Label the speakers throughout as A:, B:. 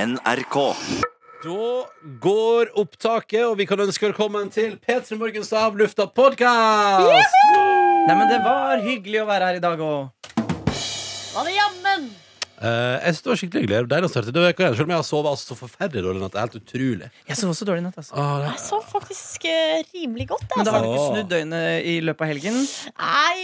A: NRK.
B: Da går opptaket, og vi kan ønske velkommen til P3 Morgens Avlufta podkast!
C: Nei, men det var hyggelig å være her i dag òg.
D: Var det jammen?
B: Eh, jeg synes det var skikkelig hyggelig. Det er Deilig å starte det veka igjen, selv om jeg har sovet altså, så forferdelig dårlig i natt. Det er helt utrolig.
C: Jeg sov også dårlig i natt. altså
B: Ah, det
D: Jeg sov faktisk eh, rimelig godt.
C: Men
D: Jeg.
C: da har du ikke
B: Åh.
C: snudd døgnet i løpet av helgen.
D: Nei,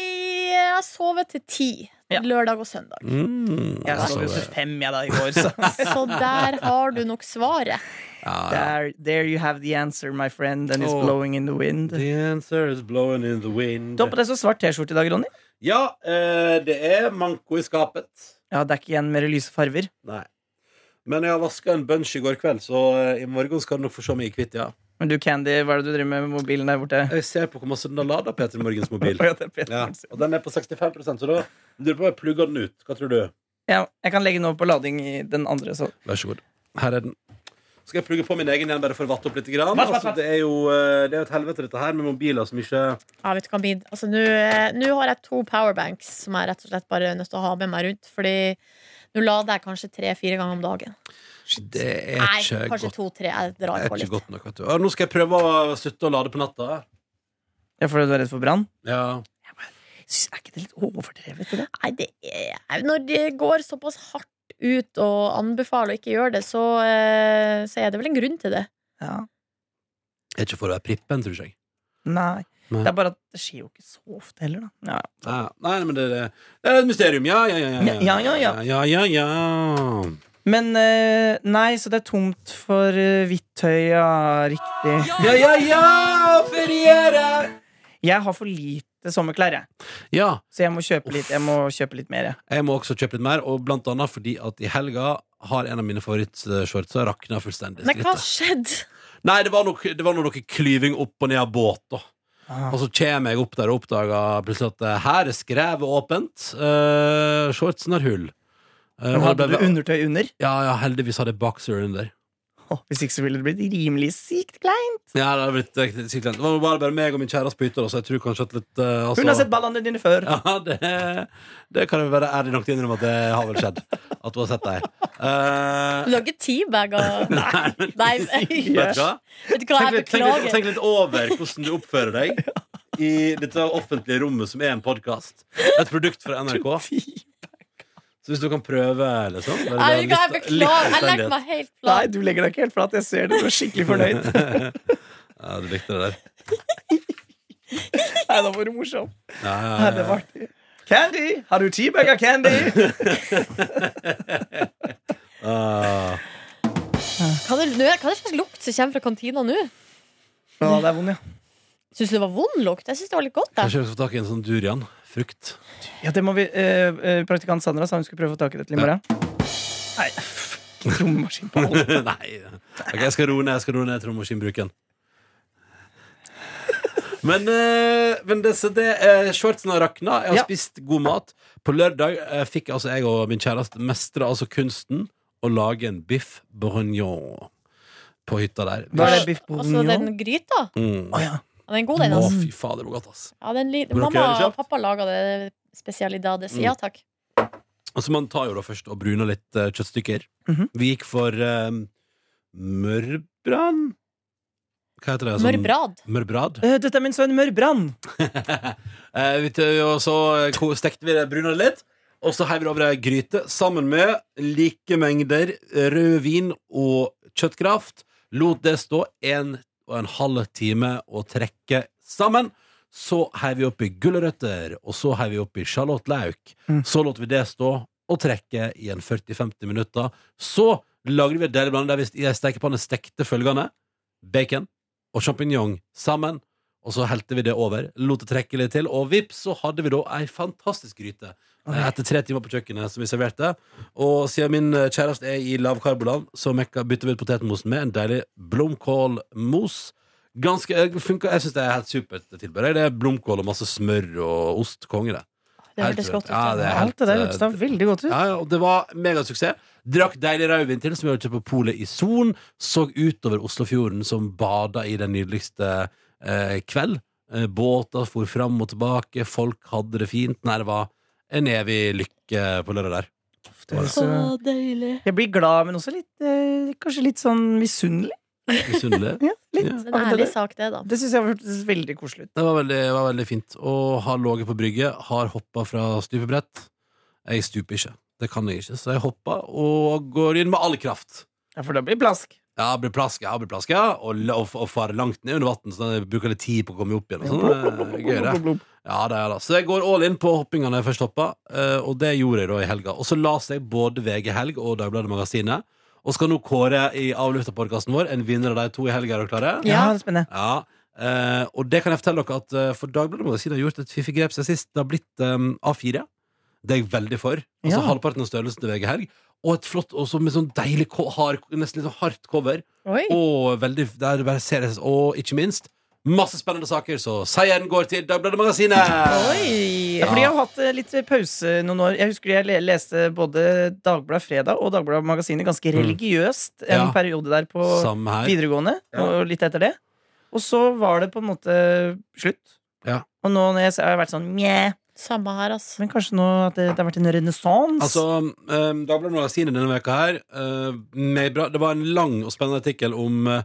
D: jeg sov til ti.
C: Ja.
D: Lørdag og søndag.
B: mm,
C: Jeg
B: altså,
C: sov jo til fem jeg da i går, så
D: Så der har du nok svaret.
B: ja, ja.
C: there, there you have the answer, my friend. And it's
B: Åh.
C: blowing in the wind.
B: The answer is blowing in the wind.
C: Du har på deg så svart T-skjorte i dag, Ronny.
B: Ja, eh, det er manko i skapet.
C: Ja, Det er ikke igjen mer lyse farver.
B: Nei. Men jeg har vaska en bunch i går kveld, så eh, i morgen skal du nok få se meg i kvitt, ja.
C: Men du, Candy, hva er det du driver med med mobilen der borte?
B: Jeg ser på hvor masse den har lada Peter Morgens mobil.
C: Å, ja, det er Peter
B: Ja,
C: Morgensen.
B: og den er på 65 så da lurer på om jeg plugger den ut. Hva tror du?
C: Ja, jeg kan legge den over på lading i den andre. Så.
B: Vær så god. Her er den. Skal jeg plugge på min egen igjen, bare for å vatte opp litt? Grann.
C: Vatt, vatt,
B: Altså,
C: vatt.
B: det, er jo, eh, det er jo et helvete, dette her, med mobiler som ikke
D: Jeg vet ikke hva min Altså, Nå eh, nå har jeg to powerbanks som jeg rett og slett bare er nødt til å ha med meg rundt. Fordi nå lader jeg kanskje tre-fire ganger om dagen.
B: Det er
D: Nei,
B: ikke
D: kanskje
B: godt.
D: to-tre. Jeg
B: Det
D: drar
B: er
D: på
B: ikke
D: litt.
B: godt nok, vet du. Ja, Nå skal jeg prøve å slutte å lade på natta.
C: Ja, Fordi du er redd for brann?
B: Ja.
C: Syns- Er ikke det litt overdrevet? Det?
D: Nei, det er Når det går såpass hardt ut og anbefaler å ikke gjøre det, så, eh, så er det vel en grunn til det.
C: Ja.
B: Det er ikke for å være prippen, tror jeg.
C: Nei.
B: Nei.
C: Det er bare at det skjer jo ikke så ofte heller, da. Ja.
B: Ja. Nei, men det, det, det er et mysterium. Ja, ja, ja.
C: Ja, ja, ja.
B: ja, ja, ja.
C: Men eh, nei, så det er tomt for eh, hvitt tøy, ja. Riktig.
B: Ja, ja, ja! Feriere!
C: Jeg har for lite sommerklær, jeg.
B: Ja.
C: Så jeg må kjøpe litt, jeg må kjøpe litt mer. jeg.
B: Jeg må også kjøpe litt mer, og blant annet fordi at i helga har en av mine favorittshortser rakna fullstendig. i
D: Men hva
B: skrittet.
D: skjedde?
B: Nei, det var, nok, det var noe, noe klyving opp og ned av båt, da.
C: Ah.
B: Og så kommer jeg opp der og oppdager plutselig at eh, her er skrevet åpent. eh, shortsen har hull. Eh,
C: Men
B: og
C: hadde
B: det ble-
C: du undertøy under?
B: ja, ja, heldigvis hadde jeg boxer under.
C: Åh, hvis ikke så ville det blitt rimelig sykt klein.
B: Ja, Det hadde blitt eh, sykt lent. Det var bare, bare meg og min kjæreste på hytta, da, så jeg tror kanskje at litt eh, altså-
C: Hun har sett ballene dine før.
B: Ja, det, det kan jeg være ærlig nok til å innrømme at det har vel skjedd. At du har sett deg. Eh,
D: Du har ikke teabager? Nei, Nei
B: vet du
D: men-
B: hva?
D: vet du
B: Tenk litt,
D: hva, jeg
B: tenk, litt,
D: beklager.
B: tenk litt over hvordan du oppfører deg i dette offentlige rommet som er en podkast. Et produkt fra NRK. Så hvis du kan prøve, liksom bare
D: Nei, vet du hva, jeg
B: litt-
D: beklager.
B: litt
D: Jeg legger meg helt
C: Nei,
D: flat.
C: du legger deg ikke helt flat. Jeg ser det. Du er skikkelig fornøyd.
B: Ja, du likte det der.
C: Nei, da var du morsom.
B: Ja, ja,
C: Nei,
B: ja.
C: det var artig. Candy! Har du teabag av candy?
B: Ah.
D: Hva er det nå er- hva er det slags lukt som kommer fra kantina nå?
C: Å, det er vond, ja.
D: Syns du det var vond lukt? Jeg syns det var litt godt. Jeg.
B: Kanskje vi skal få tak i en sånn durian. Frukt.
C: ja det må vi, eh, eh, praktikant Sandra sa hun skulle prøve å få tak i dette i morgen. Nei, trommemaskin på alt.
B: Nei. Ok, jeg skal roe ned, jeg skal roe ned trommaskinbruken. Men, eh, men det, så det eh, shortsen har rakna. Jeg har
C: Ja.
B: spist god mat. På lørdag eh, fikk altså jeg og min kjæreste mestre altså kunsten å lage en biff bourguignon på hytta der.
C: Hva er det biff
D: Altså,
C: bourguignon?
D: den gryta,
B: Mm.
C: Å ja.
D: ja, den er god, den.
B: Å,
D: Altså.
B: fy fader, det var godt, ass.
D: Ja, den li-
B: dere gjøre det
D: Mamma
B: kjapt? Mm.
D: og pappa laga det spesialidades. Ja takk.
B: Altså, man tar jo da først og bruner litt eh, kjøttstykker.
C: Mhm.
B: Vi gikk for eh, mørbran? Hva heter det? Sånn-
D: Mørbrad.
B: Mørbrad?
C: Eh, Dette er min sønn Mørbrand.
B: Eh, vi tø- og så eh, ko- stekte vi det brune litt. Og så heiv vi det over ei gryte sammen med like mengder rød vin og kjøttkraft. Lot det stå en og en halv time og trekke sammen. Så heiv vi oppi gulrøtter, og så heiv vi oppi sjalottløk.
C: Mm.
B: Så lot vi det stå og trekke i en 40-50 minutter. Så lagde vi et deilig blanding der vi i ei stekepanne stekte følgende bacon og sjampinjong sammen. Og så helte vi det over, lot det trekke litt til, og vips, så hadde vi da ei fantastisk gryte.
C: Ok.
B: eh, Etter tre timer på kjøkkenet som vi serverte. Og siden min eh, kjæreste er i lavkarboland, så mekka- bytter vi ut potetmosen med en deilig blomkålmos. Ganske, eh, funker, jeg syns det er helt supert tilbud. Det er blomkål og masse smør og ost. Konge, det.
D: Det
B: Helt
D: hørtes
B: rødt.
D: godt ut.
B: Ja, det er helt-
C: Alt det eh, der hørtes da veldig godt ut.
B: Ja, ja, og det var megasuksess. Drakk deilig rødvin til, som vi hadde kjøpt på polet i Son. Så utover Oslofjorden, som bada i den nydeligste eh, kveld. Eh, båter for fram og tilbake, folk hadde det fint. Nei, det var en evig lykke på lørdag der.
C: det høres
D: Så
C: jo-
D: deilig.
C: Jeg blir glad, men også litt eh, kanskje litt sånn misunnelig.
B: Misunnelig.
C: Ja, litt.
B: Ja.
D: Det er
C: av
D: sånn. en
C: det
D: ærlig
C: der.
D: sak, det, da.
C: Det syns jeg hørtes veldig koselig ut.
B: Det var veldig, var veldig fint. Og har ligget på brygge, har hoppa fra stupebrett. Jeg stuper ikke. Det kan jeg ikke, så jeg hoppa og går inn med all kraft.
C: Ja, For da blir det plask.
B: Ja, blir plaska, ja, blir plaska, og, la- og, og farer langt ned under vann, så jeg bruker litt tid på å komme opp igjen. Og sånn. Gøy, det. Ja, det er det. Så jeg går all in på hoppinga når jeg først hoppa, eh, og det gjorde jeg da i helga. Og så leste jeg både VG Helg og Dagbladet Magasinet, og skal nå kåre i avlufta-podkasten vår en vinner av de to i helga. Er dere klare?
D: Ja.
C: Ja, det er spennende.
B: Ja, eh, og det kan jeg fortelle dere at eh, For Dagbladet Magasin har gjort et fiffig grep siden sist. Det har blitt eh, A4. Det er jeg veldig for. Altså
C: Ja.
B: Halvparten av størrelsen til VG Helg. Og et flott, og så med sånn deilig, ko- hard, nesten litt sånn hardt cover.
D: Oi.
B: Og veldig, der det bare ser Og ikke minst, masse spennende saker, så seieren går til Dagbladet Magasinet!
C: Ja,
D: Oi.
C: fordi jeg har hatt eh, litt pause noen år. Jeg husker jeg le- leste både Dagbladet Fredag og Dagbladet Magasinet ganske
B: Mm.
C: religiøst en
B: Ja.
C: periode der på
B: Samme her.
C: videregående,
B: Ja.
C: og litt etter det. Og så var det på en måte slutt.
B: Ja.
C: Og nå når jeg ser- har jeg vært sånn mjau.
D: Samme her, altså.
C: Men kanskje nå at det, det har vært en renessanse?
B: Altså, um, Dagbladet Magasinet denne veka her eh, med bra, Det var en lang og spennende artikkel om eh,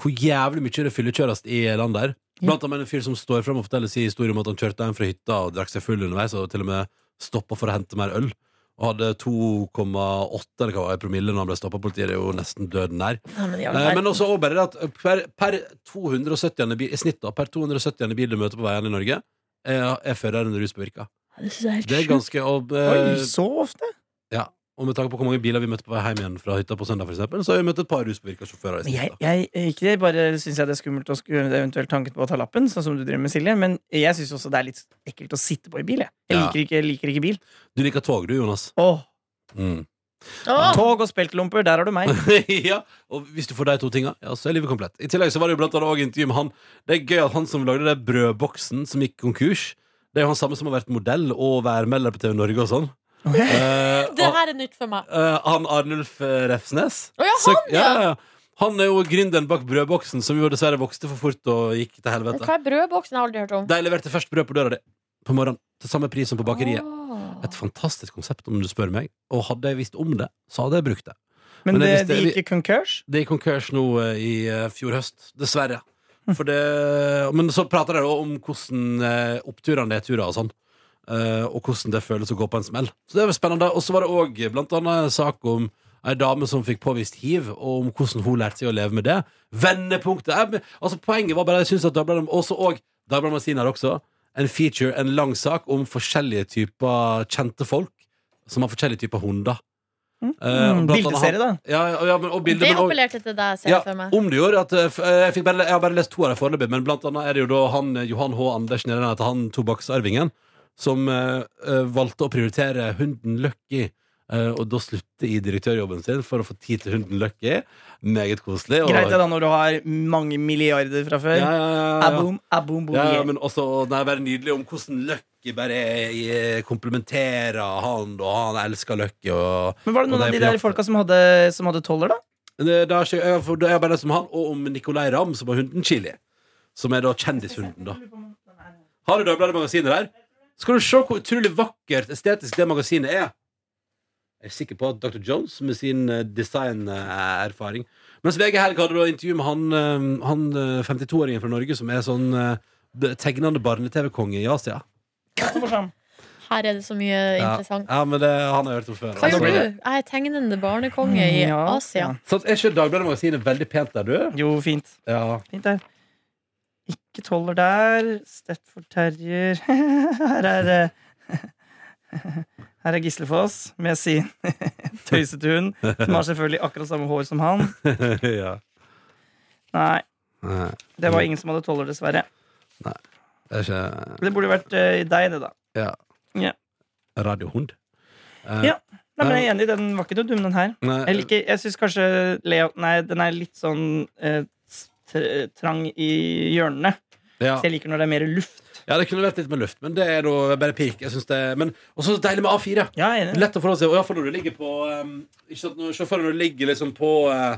B: hvor jævlig mye det fyllekjøres i landet her.
C: Ja.
B: Blant annet en fyr som står frem og forteller sin historie om at han kjørte hjem fra hytta og drakk seg full underveis, og til og med stoppa for å hente mer øl. Og hadde 2,8 eller hva det var i promille når han ble stoppa av politiet. Det er jo nesten døden nær.
D: Ja, men i all
B: Eh,
D: verden.
B: Men også også bare det at per, per 270 bil, i snitt da, per 270 bil du møter på veiene i Norge, eh, er føreren ruspåvirka.
D: Det synes jeg er helt
B: Det er
D: sjukt.
B: ganske og,
C: Oi,
B: eh,
C: så ofte?
B: og med tanke på hvor mange biler vi møtte på vei hjem igjen fra hytta på søndag, for eksempel, så har vi møtt et par ruspåvirka sjåfører. i
C: Men Jeg,
B: snitt, da.
C: jeg, ikke det, bare syns jeg det er skummelt å skulle eventuelt tanken på å ta lappen, sånn som du driver med, Silje, men jeg syns også det er litt ekkelt å sitte på i bil, jeg. Jeg
B: Ja.
C: liker ikke, jeg liker ikke bil.
B: Du liker tog, du, Jonas.
C: Åh,
B: Mm.
D: Åh,
C: Tog og speltlomper, der har du meg.
B: ja, og hvis du får de to tinga, ja, så er livet komplett. I tillegg så var det jo blant annet også intervju med han Det er gøy at han som lagde den brødboksen som gikk konkurs, det er jo han samme som har vært modell og værmelder på TV Norge og sånn. Eh,
D: det
B: og-
D: her er nytt for meg.
B: Eh, han Arnulf eh, Refsnes.
D: Å ja, han,
B: Så-
D: ja.
B: ja, ja. Han er jo gründeren bak brødboksen, som jo dessverre vokste for fort og gikk til
D: Men
B: helvete.
D: Hva er brødboksen? Jeg har aldri hørt om.
B: De leverte først brød på døra di på morgenen, til samme pris som på bakeriet.
D: Åh.
B: Et fantastisk konsept, om du spør meg. Og hadde jeg visst om det, så hadde jeg brukt det.
C: Men
B: Men jeg
C: det,
B: visste-
C: det gikk i konkurs.
B: Det gikk konkurs nå eh, i eh, fjor høst, dessverre. For det, men så prater de da om hvordan eh, oppturene nedturer og sånn. eh, og hvordan det føles å gå på en smell. Så det var spennende. Og så var det òg blant annet en sak om ei dame som fikk påvist hiv, og om hvordan hun lærte seg å leve med det. Vendepunktet eh, men- Altså Poenget var bare jeg synes at Dagbladet også, og Dagbladet Magasin har også en feature, en lang sak, om forskjellige typer kjente folk som har forskjellige typer hunder.
C: Mm.
B: Eh, og blant annet han-
C: Bildeserie, da.
B: Ja, ja, ja, men, og bilder,
D: Det
B: men også-
D: appellerte til deg, ser
B: ja,
D: jeg for meg.
B: om det gjorde at eh, f- eh, jeg, fikk bare, jeg har bare lest to av dem foreløpig, men blant annet er det jo da han eh, Johan H. Andersen, eller han heter han tobakksarvingen, som eh, eh, valgte å prioritere hunden Lucky. eh, og da slutte i direktørjobben sin for å få tid til hunden Lucky. Meget koselig. Og,
C: Greit det da når du har mange milliarder fra før.
B: Ja, ja, ja, ja.
C: Aboom, aboom, boom,
B: Ja, ja,
C: yeah.
B: men også Det er bare nydelig om hvordan Lucky bare eh, komplementerer han, og han elsker Lucky. Og,
C: Men var
B: Og
C: det noen
B: det
C: av de
B: blir
C: der
B: ofte-
C: folka som hadde, som hadde toller, da?
B: det, det har ikke, jeg, for, det er bare det som han, og om Nicolay Ramm, som har hunden Chili. Som er da kjendishunden, da. Har du Dagbladet Magasinet der? Skal du se hvor utrolig vakkert estetisk det magasinet er. Jeg er sikker på at Dr. Jones med sin eh, designerfaring Mens VG Helg hadde da intervju med han, eh, han eh, 52-åringen fra Norge som er sånn eh, be- tegnende barne-TV-konge i Asia.
C: sånn.
D: Her er det så mye
B: Ja,
D: interessant.
B: ja men det, han har jeg hørt om før.
D: Hva
B: altså.
D: gjorde du? Jeg er tegnende barnekonge i
C: Ja,
D: Asia.
C: ja.
B: Så er ikke Dagbladet Magasinet veldig pent der, du?
C: Jo, fint.
B: Ja.
C: Fint der. Ikke toller der. Stedford Terrier. Her er eh, Her er Gislefoss med sin tøysete hund, som har selvfølgelig akkurat samme hår som han.
B: ja.
C: Nei,
B: Nei,
C: det var ingen som hadde toller, dessverre.
B: det er ikke
C: Det burde vært eh, deg, det, da.
B: Ja.
C: Ja.
B: Radiohund. Eh,
C: Ja. Nei, men jeg er enig, den var ikke noe dum, den her.
B: nei,
C: Jeg liker, jeg syns kanskje Leo Nei, den er litt sånn eh, tr- trang i hjørnene.
B: ja.
C: Så jeg liker når det er mer luft.
B: ja, det kunne vært litt med luft, men det er da bare pirk. Jeg synes det er, men, og så deilig med A4.
C: Ja, jeg er enig.
B: Lett å forholde seg Og i hvert fall når du ligger på ehm, Ikke sant, når, Se for deg når du ligger liksom på eh,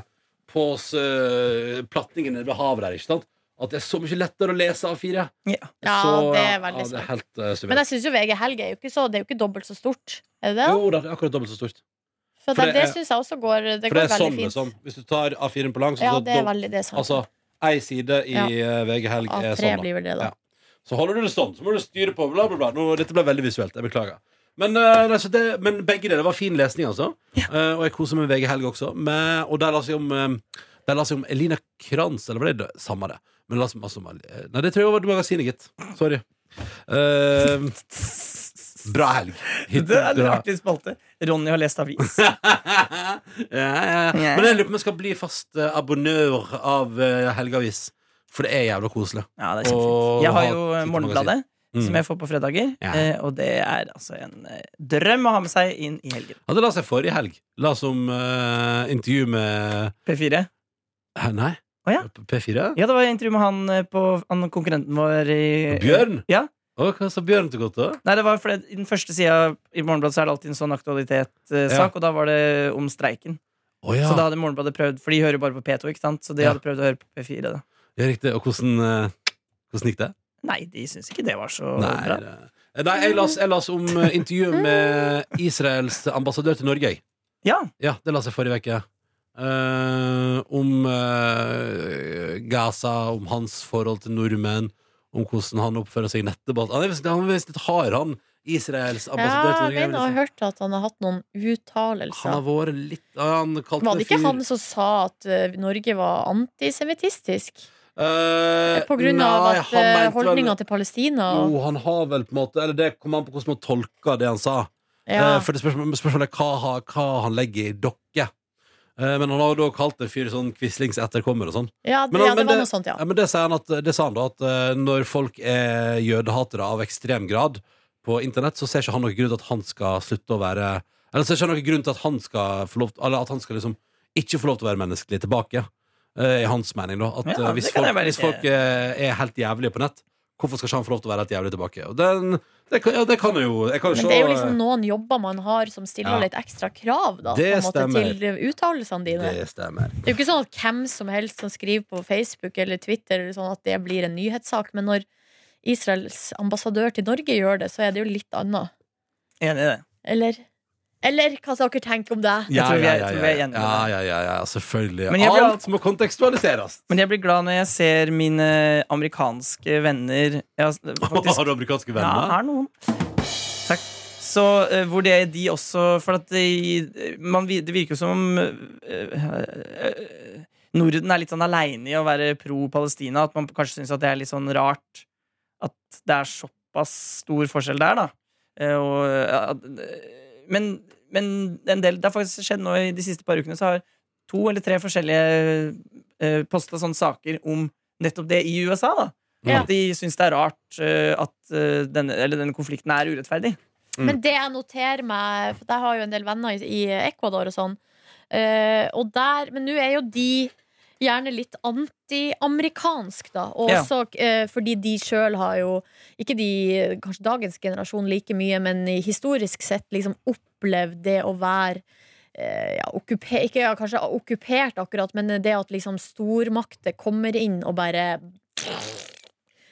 B: På eh, platningen nede ved havet der, ikke sant? At det er så mye lettere å lese A4.
C: Ja.
D: Ja,
B: Så,
D: det er
B: ja,
D: veldig
B: ja, det er
D: sant.
B: helt eh,
D: Men
B: suverent.
D: jeg syns jo VG Helg er jo ikke så Det er jo ikke dobbelt så stort. Er det det?
B: Jo da, det er akkurat dobbelt så stort.
D: Så
B: For
D: det,
B: det
D: det
B: er-
D: syns jeg også går, det
B: For det
D: går
B: er
D: veldig
B: sånn,
D: fint.
B: liksom. Hvis du tar A4-en på langs,
D: Ja,
B: så,
D: det er veldig det er sant.
B: altså ei side i
D: Ja.
B: eh, VG Helg
D: A3
B: er sånn. Da.
D: blir vel det, da.
B: Ja. Så holder du det sånn, så må du styre på bla, bla, bla. Nå, dette ble veldig visuelt. Jeg beklager. Men, eh, altså, det, men begge deler var fin lesning, altså. Eh, og jeg koser meg med VG Helg også. Men- og der la seg om eh, Der la seg om Elina Kranz, eller ble det samme det? Men la seg masse om eh, Nei, det tror jeg var til magasinet, gitt. Sorry. Eh, bra helg. Hit-
C: Det er en
B: bra.
C: artig spalte. Ronny har lest avis.
B: ja, ja. Men jeg lurer på om jeg skal bli fast eh, abonnør av eh, Helgavis. For det er jævla koselig.
C: Ja, det er
B: Og
C: kjempefint. Jeg har
B: ha
C: jo
B: et lite
C: Morgenbladet,
B: Mm.
C: som jeg får på fredager.
B: Ja.
C: eh, Og det er altså en eh, drøm å ha med seg inn i helgen.
B: Ja, det la seg forrige helg. La oss om eh, intervju med
C: P4.
B: Hæ, Nei?
C: Å, ja.
B: P4?
C: Ja, det var intervju med han eh, på han konkurrenten vår i
B: Bjørn?
C: Eh, Ja.
B: Å, hva sa Bjørn til godt, da?
C: Nei, det var fordi I den første sida i Morgenbladet så er det alltid en sånn aktualitetssak,
B: Ja.
C: og da var det om streiken.
B: Å ja.
C: Så da hadde Morgenbladet prøvd, for de hører jo bare på P2, ikke sant? Så de
B: Ja.
C: hadde prøvd å høre på P4. da
B: ja, riktig. Og hvordan, eh, hvordan gikk det?
C: Nei, de syns ikke det var så
B: Nei,
C: bra.
B: det- Eh, nei, jeg las, jeg las om eh, intervju med Israels ambassadør til Norge. jeg.
C: Ja,
B: Ja, det la seg forrige uke. Eh, om eh, Gaza, om hans forhold til nordmenn, om hvordan han oppfører seg i nettebatt. Han er visst- han er visst litt hard, han. Israels
D: Ja,
B: ambassadør til
D: jeg
B: Norge. jeg vil
D: mener,
B: si.
D: jeg har hørt at han har hatt noen
B: Han har
D: uttalelser.
B: vært litt ja, Han kalte
D: Var det ikke
B: fyr-
D: han som sa at eh, Norge var antisemittistisk?
B: Eh,
D: På grunn av
B: nei,
D: at
B: han
D: eh,
B: mente vel-
D: holdninga til Palestina og
B: Jo, han har vel på en måte Eller det kommer an på hvordan man tolker det han sa.
D: ja.
B: Eh, for det spørsmålet, spørsmålet er hva, ha- hva han legger i dokke. Eh, men han har jo da kalt en fyr sånn Quislings etterkommer og sånn.
D: Ja, det,
B: Men han-
D: ja, det
B: men
D: var
B: det-
D: noe sånt, ja.
B: Ja, men det, sier han at, det sa han da, at eh, når folk er jødehatere av ekstrem grad på internett, så ser ikke han noen grunn til at han skal slutte å være Eller ser ikke han noen grunn til at han skal få lov Eller at han skal liksom ikke få lov til å være menneskelig tilbake. eh, I hans mening, da. At
C: Ja,
B: eh,
C: det
B: hvis
C: kan
B: folk,
C: jeg være
B: hvis
C: litt-
B: folk eh, er helt jævlige på nett, hvorfor skal ikke han få lov til å være helt jævlig tilbake? Og den, det, kan, ja, det kan jo jeg kan jo
D: Men
B: se-
D: det er jo liksom noen jobber man har som stiller
B: Ja.
D: litt ekstra krav da, på
B: Det
D: en måte,
B: stemmer.
D: til eh, uttalelsene dine.
B: Det stemmer.
D: Det er jo ikke sånn at hvem som helst som skriver på Facebook eller Twitter eller sånn at det blir en nyhetssak, men når Israels ambassadør til Norge gjør det, så er det jo litt annet.
C: enig i det.
D: Eller, eller hva dere tenker om det.
C: Jeg
B: Ja,
C: tror vi
B: ja,
C: er-
B: ja,
C: tror vi
B: ja,
C: er enige
B: ja,
C: med
B: ja, ja, ja, selvfølgelig.
C: Men jeg blir
B: Alt må kontekstualiseres.
C: Men jeg blir glad når jeg ser mine amerikanske venner ja, faktisk,
B: Har du amerikanske
C: Ja,
B: venner?
C: er noen. Takk. Så eh, hvor det de også For at de, man, vi- det virker jo som om eh, eh, Norden er litt sånn aleine i å være pro Palestina. At man kanskje syns at det er litt sånn rart at det er såpass stor forskjell der, da. Eh, og, eh, at- men, men en del Det har faktisk skjedd nå i de siste par ukene, så har to eller tre forskjellige uh, posta sånne saker om nettopp det i USA, da.
D: Ja.
C: At de syns det er rart eh, at eh, denne, eller denne konflikten er urettferdig.
D: Men det jeg noterer meg For jeg har jo en del venner i, i Ecuador og sånn. Eh, og der, men nå er jo de gjerne litt antiamerikansk, da. Og
C: Ja.
D: også eh, fordi de sjøl har jo Ikke de, eh, kanskje dagens generasjon like mye, men i historisk sett liksom opplevd det å være eh, ja, okkupe- ikke ja, kanskje okkupert akkurat, men det at liksom stormakter kommer inn og bare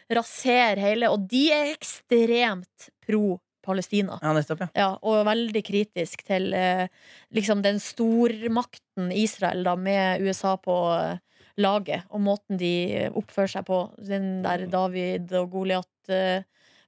D: raserer hele Og de er ekstremt pro Palestina.
C: Ja, nettopp, ja.
D: Ja, og veldig kritisk til eh, liksom den stormakten Israel, da, med USA på eh, laget, og måten de oppfører seg på. Den der David og Goliat eh,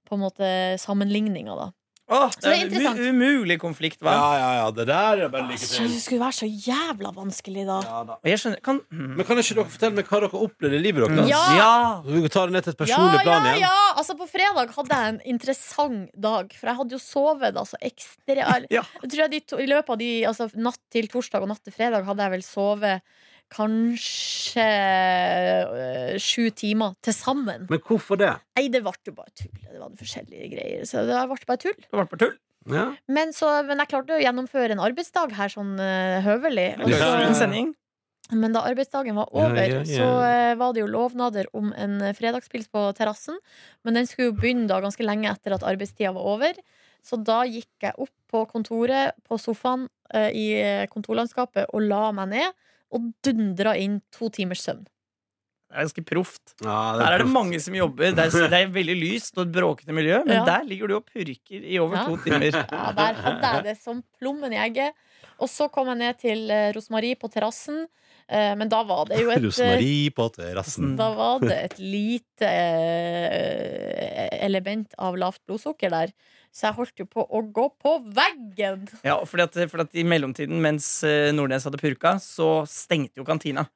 D: på en måte sammenligninga, da.
C: Åh,
D: Så det er
C: en
D: interessant.
C: u- umulig konflikt, hva?
B: Ja, ja, ja, det der er bare lykke til.
D: Det skulle være så jævla vanskelig, da.
C: Og jeg skjønner kan, mm.
B: Men kan ikke dere fortelle meg hva dere opplevde i livet deres?
D: Ja.
B: Så Vi tar det ned til et personlig
D: ja,
B: plan
D: ja,
B: igjen.
D: ja! Altså, på fredag hadde jeg en interessant dag, for jeg hadde jo sovet altså, ekstremt
C: Ja.
D: Jeg tror jeg de to, I løpet av de, altså, natt til torsdag og natt til fredag hadde jeg vel sovet kanskje øh, sju timer til sammen.
B: Men hvorfor det?
D: Nei, det ble jo bare tull. Det var forskjellige greier. Så det ble bare tull.
C: Det var på tull.
B: Ja.
D: Men, så, men jeg klarte å gjennomføre en arbeidsdag her sånn øh, høvelig. Og
B: Ja.
C: Det var
D: så-
C: en sending.
D: men da arbeidsdagen var
B: Ja,
D: over,
B: ja, ja.
D: så eh, var det jo lovnader om en eh, fredagspils på terrassen. Men den skulle jo begynne da ganske lenge etter at arbeidstida var over. Så da gikk jeg opp på kontoret, på sofaen eh, i eh, kontorlandskapet, og la meg ned. Og dundra inn to timers søvn.
C: Det er ganske proft.
B: Ja,
C: Der er det mange som jobber. Det er, det er veldig lyst og et bråkete miljø, men
D: Ja.
C: der ligger du og purker i over
D: Ja.
C: to timer.
D: Ja, der hadde jeg det som plommen i egget. Og så kom jeg ned til eh, Rosmarie på terrassen, eh, men da var det jo et eh,
B: Rosmarie på terrassen.
D: da var det et lite eh, element av lavt blodsukker der. Så jeg holdt jo på å gå på veggen!
C: Ja, fordi at, fordi at I mellomtiden, mens eh, Nordnes hadde purka, så stengte jo kantina.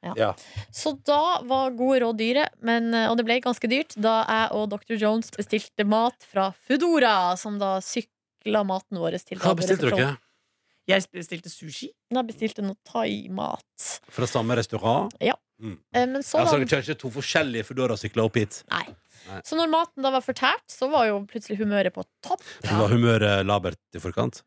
D: Så da var gode råd dyre, men, eh, og det ble ganske dyrt, da jeg og Dr. Jones bestilte mat fra Foodora, som da sykla maten vår til
B: Hva bestilte dere?
C: Jeg bestilte sushi.
D: Da bestilte noe thaimat.
B: Fra samme restaurant?
D: Eh, Men så,
B: Ja, så
C: Sånn.
D: da,
B: Altså, dere kjører ikke to forskjellige Foodora-sykler opp hit?
D: nei.
B: Nei.
D: så når maten da var fortært, så var jo plutselig humøret på topp.
B: Men Var humøret labert i forkant?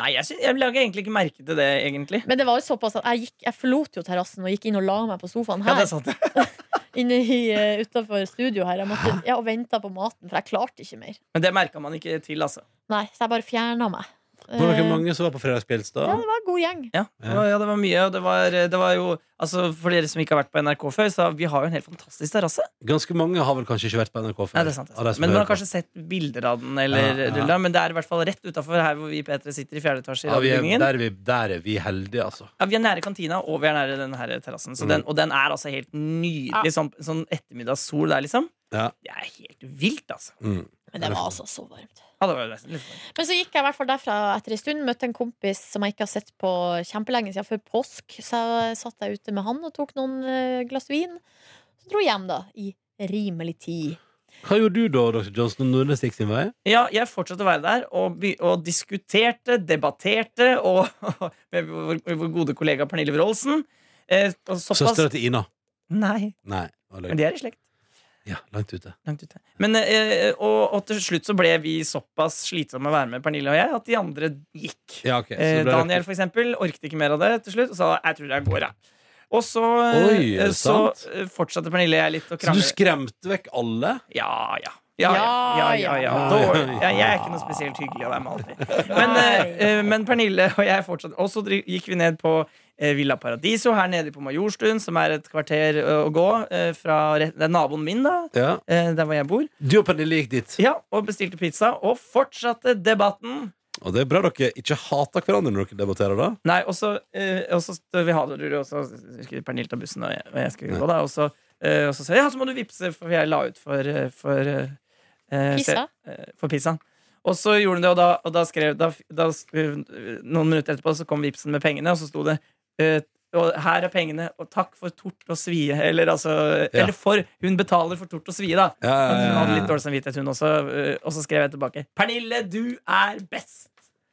C: Nei, jeg, sy- jeg lager egentlig ikke merke til det, egentlig.
D: Men det var jo såpass at jeg, gikk, jeg forlot jo terrassen og gikk inn og la meg på sofaen
C: Ja,
D: her.
C: det er sant.
D: inne i, eh, utenfor studio her. Jeg måtte, ja, og venta på maten, for jeg klarte ikke mer.
C: Men det merka man ikke til, altså.
D: Nei, Så jeg bare fjerna meg.
B: Hvor var
D: Eh,
B: det mange som var på fredagspils da?
D: ja, det var en god gjeng.
C: Ja, det var, ja, det var mye. Og det var, eh, det var jo altså, For dere som ikke har vært på NRK før, så vi har jo en helt fantastisk terrasse.
B: Ganske mange har vel kanskje ikke vært på NRK før?
C: Nei, det er sant, det
B: av de
C: er sant.
B: som
C: Men man
B: hører
C: har kanskje sett bilder av den, eller,
B: Ja, ja.
C: rulla, men det er i hvert fall rett utafor her hvor vi i P3 sitter i fjerde etasje.
B: på.
C: i
B: ja, vi er,
C: radiobygningen.
B: der, er vi, der er vi heldige, altså.
C: Ja, vi er nære kantina, og vi er nære den her terrassen. Så
B: Mm.
C: den, og den er altså helt nydelig. Sånn, sånn ettermiddagssol der, liksom.
B: Ja.
C: Det er helt vilt, altså.
B: Mm.
D: Men det var altså så varmt.
C: Ja, det var jo nesten litt for-
D: Men så gikk jeg i hvert fall derfra etter en stund. Møtte en kompis som jeg ikke har sett på kjempelenge siden før påsk. Så jeg satt jeg ute med han og tok noen eh, glass vin. Så dro jeg hjem, da. I rimelig tid.
B: Hva gjorde du da, Dr. Johnson, når Nordnes gikk sin vei?
C: Ja, jeg fortsatte å være der og, by- og diskuterte, debatterte og, med vår, vår gode kollega Pernille Wroldsen. Eh, og såpass
B: Søstera til Ina.
C: Nei,
B: Nei. det var
C: men
B: løgn.
C: de er i slekt.
B: Ja, langt ute.
C: Langt ute. Men, eh, og, og til slutt så ble vi såpass slitsomme å være med, Pernille og jeg, at de andre gikk.
B: Ja, ok. så
C: Eh,
B: ble det-
C: Daniel for eksempel orket ikke mer av det til slutt og sa jeg tror jeg går. Jeg. Og så,
B: Oi, er
C: eh,
B: det
C: så
B: sant?
C: eh, fortsatte Pernille og jeg litt å
B: Så du
C: krangle.
B: skremte vekk alle?
C: Ja, ja. Ja, ja, ja, ja, ja.
B: Ja, ja.
C: Dårlig. Ja, jeg er ikke noe spesielt hyggelig av dem alltid. Men,
D: Nei.
C: eh, eh, men Pernille og jeg fortsatte. Og så dri- gikk vi ned på eh, Villa Paradiso her nede på Majorstuen, som er et kvarter eh, å gå eh, fra rett- Det er naboen min, da.
B: Ja.
C: eh, Der hvor jeg bor.
B: Du og Pernille gikk dit.
C: Ja, Og bestilte pizza. Og fortsatte debatten.
B: Og det er bra dere ikke hater hverandre når dere debatterer, da.
C: Nei, og så eh, og så står vi ha det, og så skulle Pernille ta bussen, og jeg, og jeg skulle gå, da. Og så, eh, og så sa jeg ja, så må du vippse, for jeg la ut for, eh, for eh, eh,
D: Pissa.
C: se- eh, for pizzaen. Og så gjorde hun det, og da, og da skrev da, da, eh, Noen minutter etterpå så kom vipsen med pengene, og så sto det eh, og her er pengene, og takk for tort og svie. Eller altså
B: Ja.
C: Eller for Hun betaler for tort og svie, da.
B: Ja, ja,
C: Men Hun hadde litt
B: ja,
C: dårlig samvittighet, hun også. eh, Og så skrev jeg tilbake. Pernille, du er best!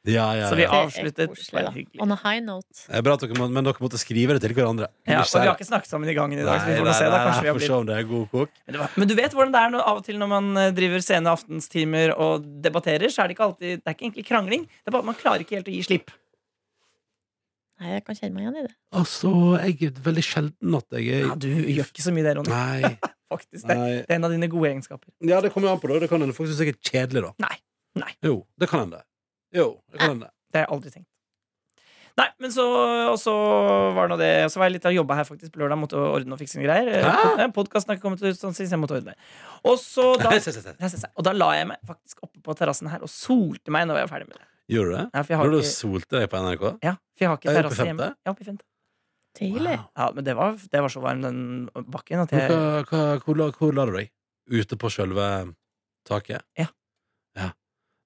B: ja, ja,
C: Så vi
B: ja.
D: Det er
C: avsluttet
D: koselig, da.
C: veldig hyggelig.
D: On a high note.
B: Det er bra at dere må, men dere måtte skrive det til hverandre.
C: Ja, og vi har ikke snakket sammen i gangen i dag, så vi får nå se. Da. Kanskje vi har
B: får
C: blitt...
B: se om det er god kok.
C: Men det var- Men du vet hvordan det er når, av og til når man eh, driver sene aftenstimer og debatterer, så er det ikke alltid Det er ikke egentlig krangling, det er bare at man klarer ikke helt å gi slipp.
D: Nei, jeg kan kjenne meg igjen i det.
B: Altså, jeg er veldig sjelden at jeg
C: Ja,
B: er
C: du gjør ikke så mye det, Ronny.
B: Nei.
C: Faktisk. Det,
B: nei.
C: det er en av dine gode egenskaper.
B: Ja, det kommer jo an på det. Det kan hende folk syns jeg er kjedelig, da.
C: Nei. Nei.
B: Jo, det kan hende. Jo, det kan hende.
C: Det har jeg aldri tenkt. Nei, men så, og så var det nå det. Og så var jeg litt av jobba her faktisk på lørdag. Måtte ordne og fikse noen greier. Eh,
B: Hæ?
C: Podkasten har ikke kommet ut, sånn, så jeg måtte ordne. Og så da,
B: Se, se, se.
C: Nei, se, se. og da la jeg meg faktisk oppe på terrassen her og solte meg når jeg var ferdig med det.
B: Gjorde du det?
C: Nei, for jeg har
B: Når du
C: ikke-
B: solte deg på NRK?
C: Ja, for jeg har
B: Er du oppe
C: ikke
B: i
C: terrasse hjemme.
B: femte?
C: Ja, oppe i femte.
D: Deilig.
B: Wow.
C: Ja, men det var, det var så varm den bakken at
B: Men
C: jeg
B: hva- hva- Hvor, la- hvor la du deg? Ute på sjølve taket?
C: Ja.
B: Ja.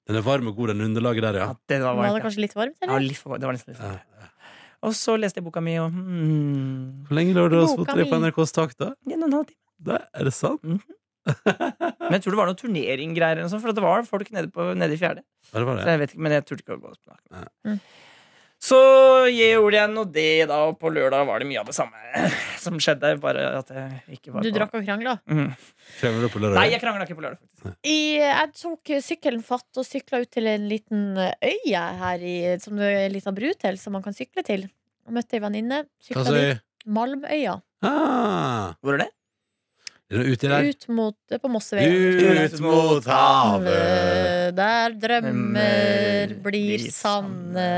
B: Den er varm og god, den underlaget der, ja.
C: ja, det var
D: Var det
C: varmt. ja.
D: kanskje litt varmt,
C: Ja,
D: eller?
C: litt for, det var nesten litt for.
B: Ja, ja.
C: Og så leste jeg boka mi, og hmm,
B: Hvor lenge lå du og
D: Boka
B: solte deg på
D: mi.
B: NRKs tak, da?
C: en og en halv time.
B: Det, er det sant?
C: Mhm. Men jeg tror det var noen turneringgreier, eller noe sånt, for at det var folk nede, på, nede i fjerde.
B: Ja, det var
C: Så
B: det.
C: jeg vet ikke, men jeg turte ikke å gå opp på nakken.
D: Nei. Mm.
C: Så gjorde jeg nå det, da, og på lørdag var det mye av det samme som skjedde. Bare at jeg ikke var
D: Du
C: på
D: drakk og krangla?
C: Mhm.
B: Krangler du på lørdag?
C: Nei, jeg krangla ikke på lørdag. faktisk
D: I, jeg tok sykkelen fatt og sykla ut til en liten øy jeg her i, som det er en liten bru til, som man kan sykle til. Og møtte ei venninne.
B: Hva
D: Sykla
B: sa
D: dit.
B: jeg?
D: Malmøya.
B: Ah,
C: Hvor er det?
B: er det uti der?
D: Ut mot, eh, på Mosseveien. Eh,
B: Ut mot havet!
D: Der
C: Eh,
D: drømmer blir sanne,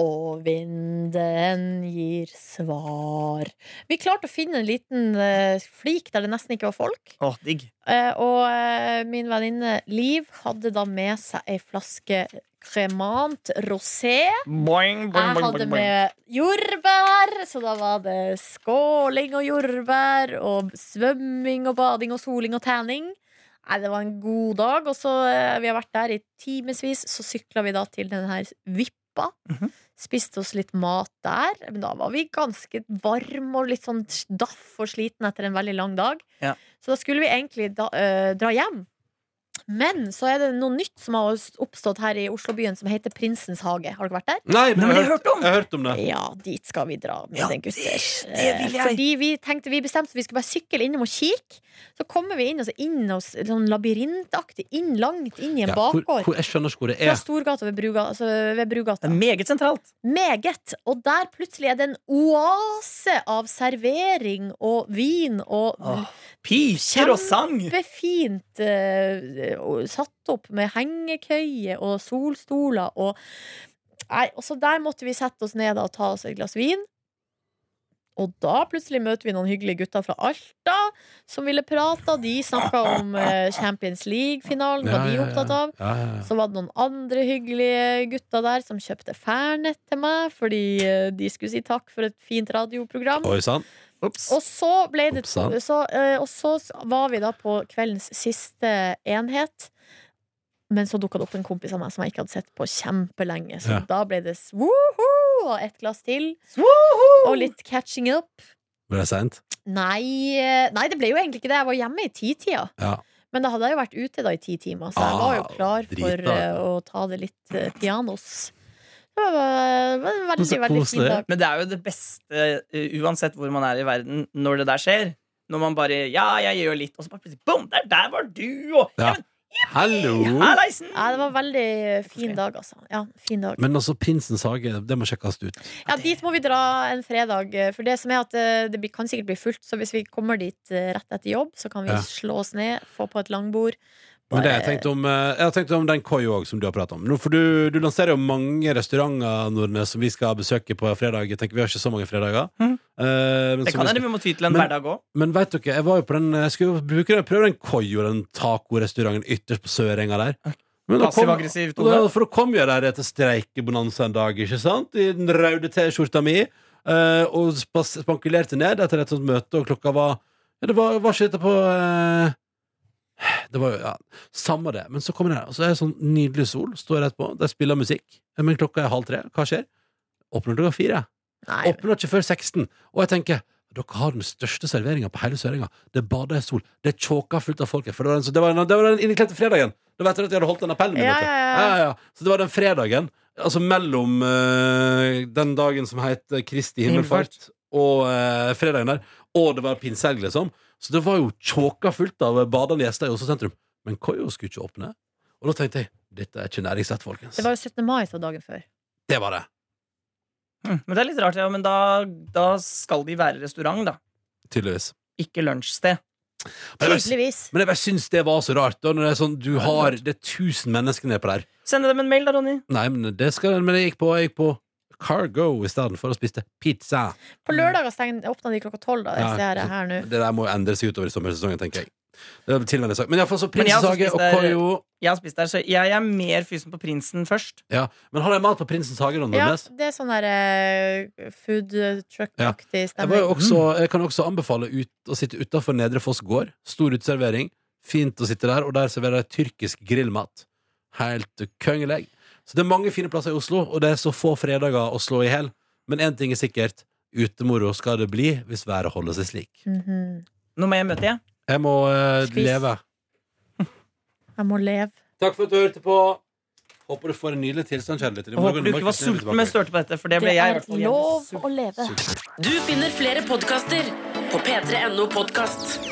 D: og vinden gir svar. Vi klarte å finne en liten eh, flik der det nesten ikke var folk.
C: Å, digg.
D: Eh, og eh, min venninne Liv hadde da med seg ei flaske kremant rosé.
C: Boing, boing,
D: Jeg
C: boing,
D: hadde
C: boing, boing.
D: med jordbær, så da var det skåling og jordbær og svømming og bading og soling og tanning. Nei, det var en god dag. Og så eh, vi har vært der i timevis, så sykla vi da til den her Vippa.
C: Mhm.
D: Spiste oss litt mat der. Men da var vi ganske varme og litt sånn daff og sliten etter en veldig lang dag.
C: Ja.
D: Så da skulle vi egentlig da, eh, dra hjem. Men så er det noe nytt som har oppstått her i Oslobyen, som heter Prinsens hage. Har dere vært der?
B: Nei, men
C: Nei,
B: jeg
C: men
B: har
C: jeg
B: hørt,
C: hørte om.
B: jeg har hørt om det.
D: Ja, dit skal vi dra, mine
C: Ja, det-
D: gutter.
C: det vil jeg.
D: Eh, Fordi vi tenkte vi bestemte vi skulle bare sykle innom og kikke. Så kommer vi inn, altså inn og s- sånn labyrintaktig, inn langt inn i en
B: Ja, hvor,
D: bakgård.
B: hvor, jeg skjønner ikke hvor det
D: Fra
B: er.
D: Storgata ved, Bruga, altså ved
C: Det
D: Brugata.
C: er meget sentralt.
D: Meget. Og der plutselig er det en oase av servering og vin og
C: Åh, Piker og sang!
D: kjempefint eh, og satt opp med hengekøye og solstoler og Nei, og så der måtte vi sette oss ned da og ta oss et glass vin. Og da plutselig møter vi noen hyggelige gutter fra Alta som ville prate. De snakka om eh, Champions League-finalen, hva de er opptatt av.
B: Ja, ja, ja.
D: Så var det noen andre hyggelige gutter der som kjøpte Fernet til meg fordi eh, de skulle si takk for et fint radioprogram.
B: Oi sann.
C: Ops.
D: Og så ble det
B: Oppsann.
D: så, eh, Og så var vi da på kveldens siste enhet. Men så dukka det opp en kompis av meg som jeg ikke hadde sett på kjempelenge. Så
B: Ja.
D: da ble det s- woho og ett glass til. Og litt catching up.
B: Ble det seint?
D: Nei, eh, nei, det ble jo egentlig ikke det. Jeg var hjemme i titida.
B: Ja.
D: Men da hadde jeg jo vært ute da i ti timer, så jeg
B: Ah,
D: var jo klar for
B: dritbra.
D: eh, å ta det litt eh, pianos. Det var, var en veldig,
B: Så
D: veldig fin
B: koselig.
D: dag.
C: Men det er jo det beste, eh, uansett hvor man er i verden, når det der skjer. Når man bare Ja, jeg gjør litt, og så bare plutselig Bom! Der, der var du! Og
B: Ja. Mm.
C: ja.
B: Hallo!
C: men, Hallaisen!
D: Ja, det var en veldig fin dag, altså. Ja, fin dag.
B: Men altså, Prinsens hage, det må sjekkes ut.
D: Ja, dit må vi dra en fredag. For det som er at eh, det blir- kan sikkert bli fullt, så hvis vi kommer dit eh, rett etter jobb, så kan vi
B: Ja.
D: slå oss ned, få på et langbord.
B: Men det har
D: Bare-
B: jeg tenkt om, eh, jeg har tenkt om den koi òg, som du har pratet om. Nå, for du, du lanserer jo mange restauranter Nordnes, som vi skal besøke på fredag. Jeg tenker Vi har ikke så mange fredager.
C: Mhm.
B: Eh, men
C: Det
B: som vi skal-
C: kan hende vi må ty til en
B: Men-
C: hverdag òg.
B: Men vet dere, jeg var jo på den Jeg skulle jo bruke den, prøve den koi og den tacorestauranten ytterst på Sørenga der. Men da kom-
C: Passiv-aggressiv
B: og da,
C: tone.
B: for da kom jeg der etter streikebonanza en dag, ikke sant? I den røde T-skjorta mi. eh, og spas- spankulerte ned etter et sånt møte, og klokka var ja, Det var, var ikke dette på eh, Det var jo ja, Samme det. Men så kommer jeg her, og så er det sånn nydelig sol. Står rett på. De spiller musikk. Men klokka er halv tre. Hva skjer? Åpner klokka fire.
D: Nei,
B: Åpner ikke før 16. Og jeg tenker dere har den største serveringa på hele Sørenga. Det bader i sol. Det er tjåka fullt av folk her. For det var den, så det var den, det var den inneklemte fredagen. Da vet dere at jeg hadde holdt den appellen min.
D: Ja,
B: vet du.
D: ja, ja.
B: Ja, ja, ja. Så det var den fredagen, altså mellom eh, den dagen som het Kristi himmelfart, og eh, fredagen der, og det var pinsehelg, liksom. Så det var jo tjåka fullt av badende gjester i Oslo sentrum. Men Koio skulle ikke åpne. Og da tenkte jeg dette er ikke næringsrett, folkens.
D: det var jo 17. mai, så dagen før.
B: Det var det.
C: Mm, Men det er litt rart, ja. Men da, da skal de være restaurant, da.
B: Tydeligvis.
C: Ikke lunsjsted.
B: Men jeg-
D: Tydeligvis.
B: Men jeg bare syns det var så rart. Da, når det er sånn, du har, det er 1000 mennesker nede på der.
C: Send dem en mail, da, Ronny.
B: Nei, men det skal Men jeg gikk på, jeg gikk på Cargo i stedet for å spise pizza.
D: På lørdager steng- åpna de klokka tolv, da.
B: Ja,
D: Jeg ser det
B: så-
D: her nå.
B: Det der må jo endre seg utover i sommersesongen, tenker jeg. Det er til en sak. Men iallfall så
C: Men jeg har også
B: Prinsens hage
C: spist
B: og
C: der-
B: Koyo.
C: Jeg har spist der, så jeg er mer fysen på prinsen først.
B: Ja. Men har de mat på Prinsens hage? Ronny
D: Ja,
B: Nordnes?
D: det er sånn der eh, food truck-aktig
B: Jeg, var
D: stemning.
B: jo også, jeg kan også anbefale ut, å sitte utafor Nedre Foss gård. Stor uteservering. Fint å sitte der, og der serverer de tyrkisk grillmat. Helt kongeleg. Så det er mange fine plasser i Oslo, og det er så få fredager å slå i hjel. Men én ting er sikkert. Utemoro skal det bli hvis været holder seg slik.
D: Mhm.
C: Nå må jeg møte jeg.
B: Jeg må eh,
D: Spis.
B: leve.
D: Jeg må leve.
B: Takk for at du hørte på. Håper du får en nydelig tilstand, kjærlighet. I
C: Og
B: morgen
C: håper du
B: er
C: ikke var
B: Markus Neby
C: sulten
B: tilbake.
C: mens du hørte på dette, for det ble
D: Det
C: jeg. i
D: er
C: hvert fall. Jeg ble
D: lov
C: sulten.
D: å leve.
A: Du finner flere podkaster på p3.no podkast.